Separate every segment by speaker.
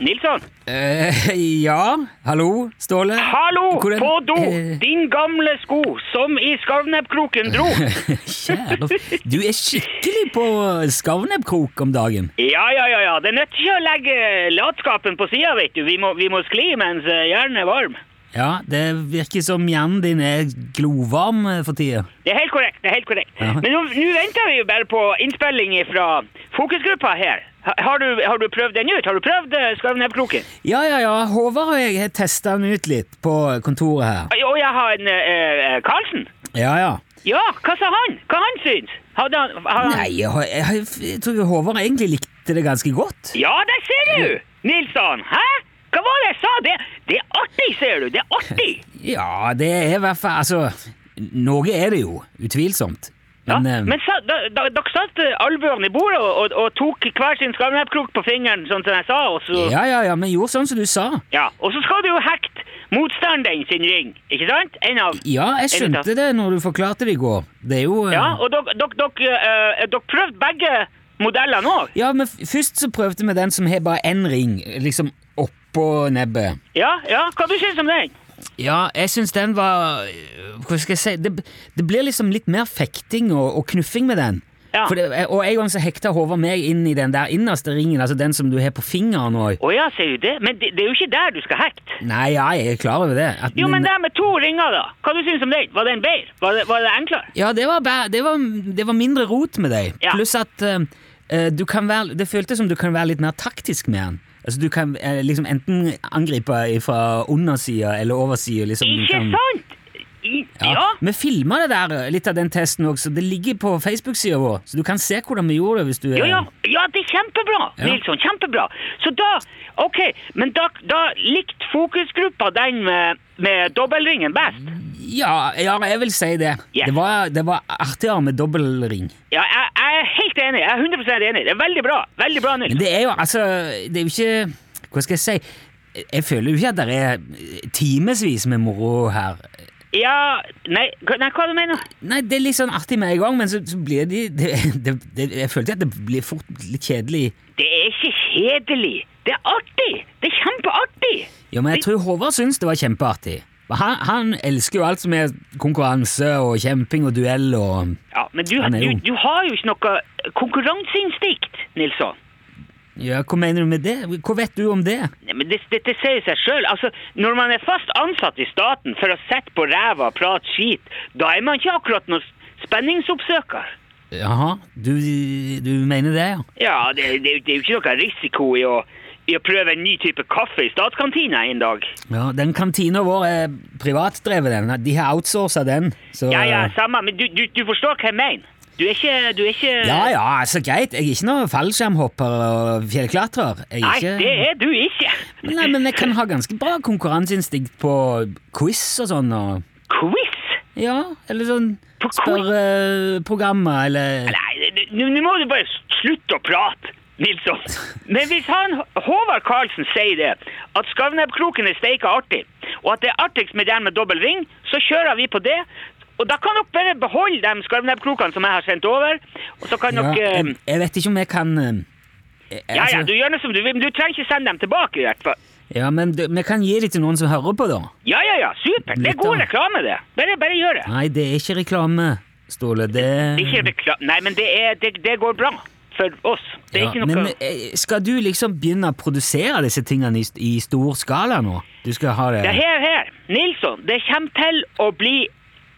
Speaker 1: Nilsson?
Speaker 2: Eh, ja, hallo, Ståle?
Speaker 1: Hallo!
Speaker 2: Hvordan-
Speaker 1: På do!
Speaker 2: eh,
Speaker 1: Din gamle sko som i Skarvnebbkroken dro.
Speaker 2: Kjære Du er skikkelig på skarvnebbkrok om dagen.
Speaker 1: Ja, ja, ja, ja. Det nytter ikke å legge latskapen på sida, vet du. Vi må, vi må skli mens eh, hjernen er varm.
Speaker 2: Ja, det virker som hjernen din er glovarm eh, for tida.
Speaker 1: Det er helt korrekt. det er helt korrekt.
Speaker 2: Ja.
Speaker 1: Men nå nå venter vi jo bare på innspilling fra fokusgruppa her. Ha- Har du, har du prøvd den ut? Har du prøvd eh, Skarvnebbkroken?
Speaker 2: Ja, ja, ja, Håvard og jeg har testa den ut litt på kontoret her.
Speaker 1: Og jeg har en eh, eh, Karlsen.
Speaker 2: Ja, ja.
Speaker 1: Ja, hva sa han? Hva han syns? Hadde han, har han...
Speaker 2: Nei, jeg, har- jeg, har- jeg tror Håvard egentlig likte det ganske godt.
Speaker 1: Ja, der ser du! Nilsson, hæ? Hva var det jeg sa? Det, det er artig, ser du! Det er artig!
Speaker 2: Ja, det er i hvert fall Altså, noe er det jo. Utvilsomt.
Speaker 1: Ja,
Speaker 2: Men, eh,
Speaker 1: men sa, da, da, dere satt eh, albuene i bordet og, og, og tok hver sin skarvnebbkrok på fingeren, sånn som jeg sa, og så, ja.
Speaker 2: Ja, ja, ja, men gjorde sånn som du sa.
Speaker 1: og så skal du jo hekte motstanderen sin ring, ikke sant? En av...
Speaker 2: Ja, jeg
Speaker 1: en av-
Speaker 2: skjønte det når du forklarte det i går. Det er jo eh,
Speaker 1: Ja, og dere, dere, dere, eh, dere prøvde begge modellene også.
Speaker 2: Ja, men f- først så prøvde vi den som har bare én ring, liksom oppå nebbet.
Speaker 1: Ja, ja, hva du synes om den?
Speaker 2: Ja, jeg syns den var øh, Hva skal jeg si Det, det blir liksom litt mer fekting og, og knuffing med den.
Speaker 1: Ja.
Speaker 2: For det, eh, og en gang så hekta Håvard meg inn i den der innerste ringen, altså den som du har på fingeren òg.
Speaker 1: Åja, ser du det? Men det, det er jo ikke der du skal hekte.
Speaker 2: Nei, ja, jeg er klar over det. At
Speaker 1: Jo, men
Speaker 2: den-
Speaker 1: det med to ringer, da. Hva du synes om den? Var den bedre? Var det, var det enklere?
Speaker 2: Ja, det var, bæ- det, var, det var mindre rot med deg.
Speaker 1: Ja.
Speaker 2: Pluss at eh, eh, du kan være Det føltes som du kan være litt mer taktisk med den. Altså, du kan eh, liksom enten angripe fra undersida eller oversida. Liksom, du
Speaker 1: Ikke
Speaker 2: kan-
Speaker 1: sant? I, ja.
Speaker 2: Vi filma det der, eh, litt av den testen òg, så det ligger på Facebook-sida vår. Så du kan se hvordan vi gjorde det. hvis du... eh,
Speaker 1: Jo, ja. ja, det er kjempebra,
Speaker 2: Ja.
Speaker 1: Nilsson. Kjempebra. Så da, ok, men da, da likte fokusgruppa den med, med dobbeltringen best.
Speaker 2: ja, ja, jeg vil si det.
Speaker 1: Yes.
Speaker 2: Det, var, det var artigere med dobbeltring.
Speaker 1: Ja, jeg, jeg er helt enig. Jeg er 100 enig. Det er veldig bra. Veldig bra,
Speaker 2: Men
Speaker 1: Nilsson.
Speaker 2: det er jo altså Det er jo ikke Hva skal jeg si? Jeg føler jo ikke at det er eh, timevis med moro her.
Speaker 1: Ja, nei, hva- nei, hva du mener du?
Speaker 2: Nei, det er litt sånn artig med en gang, men så, så blir de det, det, det, Jeg følte at det blir fort litt kjedelig.
Speaker 1: Det er ikke kjedelig. Det er artig. Det er kjempeartig.
Speaker 2: Ja, men jeg tror Håvard syns det var kjempeartig. Han, han elsker jo alt som er konkurranse og kjemping og duell og
Speaker 1: Ja, men du,
Speaker 2: Han er
Speaker 1: du,
Speaker 2: ung.
Speaker 1: du har jo ikke noe konkurranseinstinkt, Nilsson.
Speaker 2: Ja, hva mener du med det? Hva vet du om det?
Speaker 1: Nei, Men det- Dette sier seg sjøl. Altså, når man er fast ansatt i staten for å sette på ræva og prate skit, da er man ikke akkurat noen spenningsoppsøker.
Speaker 2: Jaha, du, du mener det, ja?
Speaker 1: Ja, det, det, det er jo ikke noe risiko i å, i å prøve en ny type kaffe i statskantina en dag.
Speaker 2: Ja, Den kantina vår er privatdrevet, den. De har outsourca den. Så,
Speaker 1: Ja, ja, samme, men du, du, du forstår hva jeg mener. Du er ikke, du er ikke
Speaker 2: ja, ja, altså greit. Jeg er ikke noen fallskjermhopper og fjellklatrer. Jeg er
Speaker 1: Nei,
Speaker 2: ikke...
Speaker 1: det er du ikke.
Speaker 2: Nei, men jeg kan ha ganske bra konkurranseinstinkt på quiz og sånn. Og,
Speaker 1: Quiz?
Speaker 2: ja, eller sånn
Speaker 1: På quiz?
Speaker 2: spørreprogrammer, eller
Speaker 1: Nei, det- nå nå må du bare slutte å prate, Nilsson. Men hvis han, Håvard Karlsen sier det, at Skarvnebbkroken er steika artig, og at det er artigst med den med dobbel ring, så kjører vi på det. Og da kan dere bare beholde de skarvnebbkrokene som jeg har sendt over, og så kan
Speaker 2: ja,
Speaker 1: dere
Speaker 2: jeg, jeg vet ikke om jeg kan eh,
Speaker 1: eh, Ja, ja,
Speaker 2: altså-
Speaker 1: du gjør noe som du vil, men du trenger ikke sende dem tilbake i hvert fall.
Speaker 2: ja, men du, vi kan gi det til noen som hører på, da.
Speaker 1: Ja, ja, ja, supert. Det er god
Speaker 2: Litt, da.
Speaker 1: reklame, det. Bare, bare gjør det.
Speaker 2: Nei, det er ikke reklame, Ståle. Det
Speaker 1: Det er Ikke reklame Nei, men det, er, det, det går bra for oss. Det er
Speaker 2: Ja,
Speaker 1: ikke noe
Speaker 2: Men eh, skal du liksom begynne å produsere disse tingene i, i stor skala nå? Du skal ha det
Speaker 1: Det her, her, Nilsson, det kommer til å bli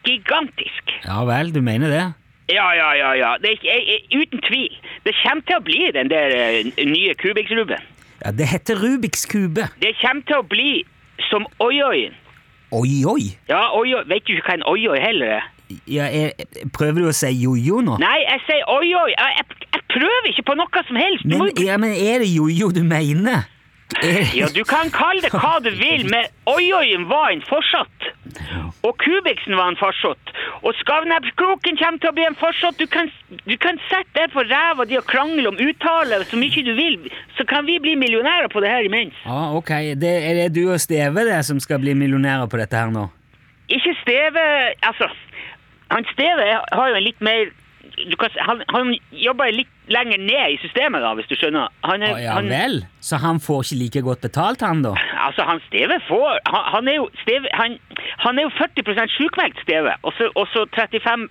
Speaker 1: gigantisk.
Speaker 2: Ja vel, du mener det?
Speaker 1: Ja, ja, ja, ja. Det er, ikke- jeg, jeg, uten tvil. Det kommer til å bli den der eh, nye Kubikksruben.
Speaker 2: Ja, Det heter Rubiks kube.
Speaker 1: Det kommer til å bli som oioien.
Speaker 2: Oi, oi!
Speaker 1: Ja, oioi. Vet du ikke hva en oioi heller er?
Speaker 2: Ja, jeg, jeg- prøver du å si jojo nå?
Speaker 1: Nei, jeg sier oioi. Jeg, jeg, jeg prøver ikke på noe som helst. Du,
Speaker 2: Men,
Speaker 1: må, jo-
Speaker 2: ja, men er det jojo du mener? Er-
Speaker 1: ja, du kan kalle det hva du vil, men oioien var en fortsatt. Og Kubiksen var en farsott. Og Skavnebbkroken kommer til å bli en farsott. Du kan, du kan sette deg på ræva di og krangle om uttale så mye du vil, så kan vi bli millionærer på det her imens.
Speaker 2: Ja, ok. Det, er det du og Steve det som skal bli millionærer på dette her nå?
Speaker 1: Ikke Steve Altså, han Steve har jo en litt mer du kan, si- han, han jobber i litt lenger ned i systemet, da, hvis du skjønner. Han er,
Speaker 2: Å, ja
Speaker 1: Eh, han,
Speaker 2: vel, så han får ikke like godt betalt, han da?
Speaker 1: altså, han Steve får Han, han, er, jo, Steve, han, han er jo 40 sjukmeldt, Steve, og så- og så 35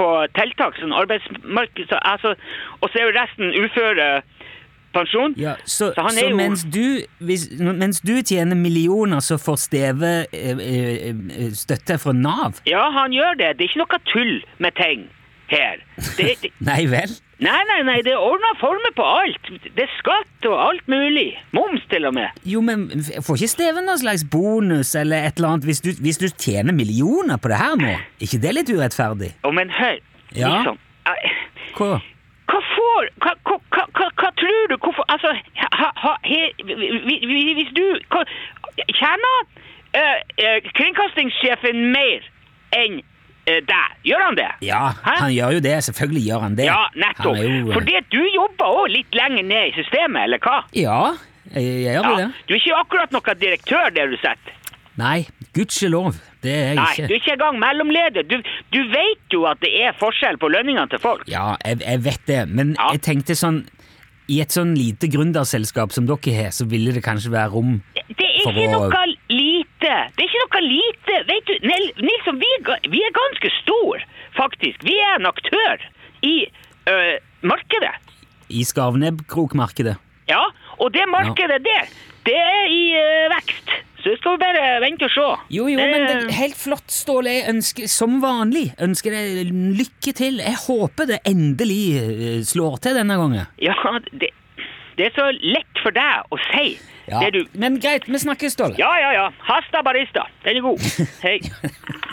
Speaker 1: på tiltak, sånn arbeidsmarked, så, altså, og så er jo resten uførepensjon.
Speaker 2: Ja, så,
Speaker 1: Så han
Speaker 2: så
Speaker 1: er jo-
Speaker 2: mens, du, hvis, mens du tjener millioner, så får Steve eh, eh, eh, støtte fra Nav?
Speaker 1: Ja, han gjør det. Det er ikke noe tull med ting her. Det, det,
Speaker 2: Nei vel?
Speaker 1: nei, nei, nei, det er ordna former på alt. Det er skatt og alt mulig. Moms, til og med.
Speaker 2: Jo, men f- får ikke Steven noen slags bonus eller et eller annet hvis du, hvis du tjener millioner på det her nå? ikke det litt urettferdig?
Speaker 1: Å, men hør,
Speaker 2: Ja.
Speaker 1: liksom eh,
Speaker 2: Hva?
Speaker 1: Hva får Hva, hva, hva, hva, hva tror du? Hvorfor Altså, ha, ha, he, vi- vi- hvis du hva, Tjener eh, eh, kringkastingssjefen mer enn eh, deg? Gjør han det?
Speaker 2: Ja,
Speaker 1: Hæ?
Speaker 2: han gjør jo det. Selvfølgelig gjør han det.
Speaker 1: Ja, nettopp.
Speaker 2: Han er jo, eh,
Speaker 1: Fordi at du jobber òg litt lenger ned i systemet, eller hva?
Speaker 2: Ja, jeg, jeg gjør jo
Speaker 1: Ja.
Speaker 2: det.
Speaker 1: Du er ikke akkurat noen direktør, der du sitter.
Speaker 2: Nei, gudskjelov. Det er jeg
Speaker 1: Nei,
Speaker 2: ikke.
Speaker 1: du er ikke engang mellomleder. Du, du vet jo at det er forskjell på lønningene til folk.
Speaker 2: Ja, jeg, jeg vet det, men
Speaker 1: Ja.
Speaker 2: jeg tenkte sånn I et sånn lite gründerselskap som dere har, så ville det kanskje være rom
Speaker 1: Det er
Speaker 2: For
Speaker 1: ikke
Speaker 2: å-
Speaker 1: noe lite. Det er ikke noe lite. Vet du, Nel- Nilsson, vi, er ga- vi er ganske stor, faktisk. Vi er en aktør i øh, markedet.
Speaker 2: i Skarvnebbkrokmarkedet.
Speaker 1: Ja, og det markedet der, det er i øh, vekst. Så skal vi bare vente og se.
Speaker 2: Jo, jo, men det
Speaker 1: Eh.
Speaker 2: er helt flott, Ståle. Jeg ønsker, som vanlig, ønsker deg lykke til. Jeg håper det endelig eh, slår til denne gangen.
Speaker 1: Ja, det, det er så lett for deg å si
Speaker 2: Ja.
Speaker 1: det du
Speaker 2: Men greit, vi snakkes, Ståle.
Speaker 1: Ja, ja, ja. Hasta barista. Den er god. Hei.